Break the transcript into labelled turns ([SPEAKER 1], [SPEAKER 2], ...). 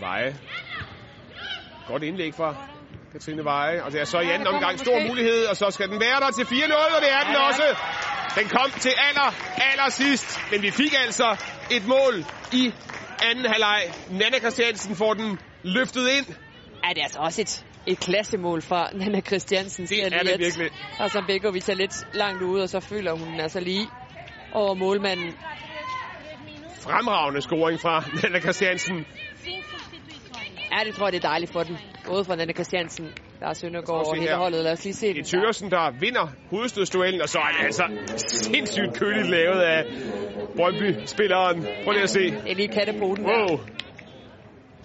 [SPEAKER 1] Veje. Godt indlæg fra Katrine Veje. Og det er så i anden omgang stor mulighed, og så skal den være der til 4-0, og det er den også. Den kom til aller, aller sidst, men vi fik altså et mål i anden halvleg. Nana Christiansen får den løftet ind.
[SPEAKER 2] Ja, det er altså også et, et klassemål fra Nana Christiansen. siger
[SPEAKER 1] er
[SPEAKER 2] lige,
[SPEAKER 1] det
[SPEAKER 2] at-
[SPEAKER 1] virkelig.
[SPEAKER 2] Og så Bekovic er lidt langt ude, og så føler hun den altså lige over målmanden.
[SPEAKER 1] Fremragende scoring fra Nana Christiansen.
[SPEAKER 2] Ja, det tror jeg, det er dejligt for den. Både fra Nana Christiansen, der er
[SPEAKER 1] Jeg
[SPEAKER 2] Søndergaard
[SPEAKER 1] tror også,
[SPEAKER 2] og
[SPEAKER 1] det
[SPEAKER 2] hele
[SPEAKER 1] her-
[SPEAKER 2] holdet. Lad os lige se den.
[SPEAKER 1] Det er Tøgersen, der vinder hovedstødsduellen, og så er det altså sindssygt køligt lavet af Brøndby-spilleren. Prøv lige at se.
[SPEAKER 2] Det er lige kattepoten. der.
[SPEAKER 1] Wow,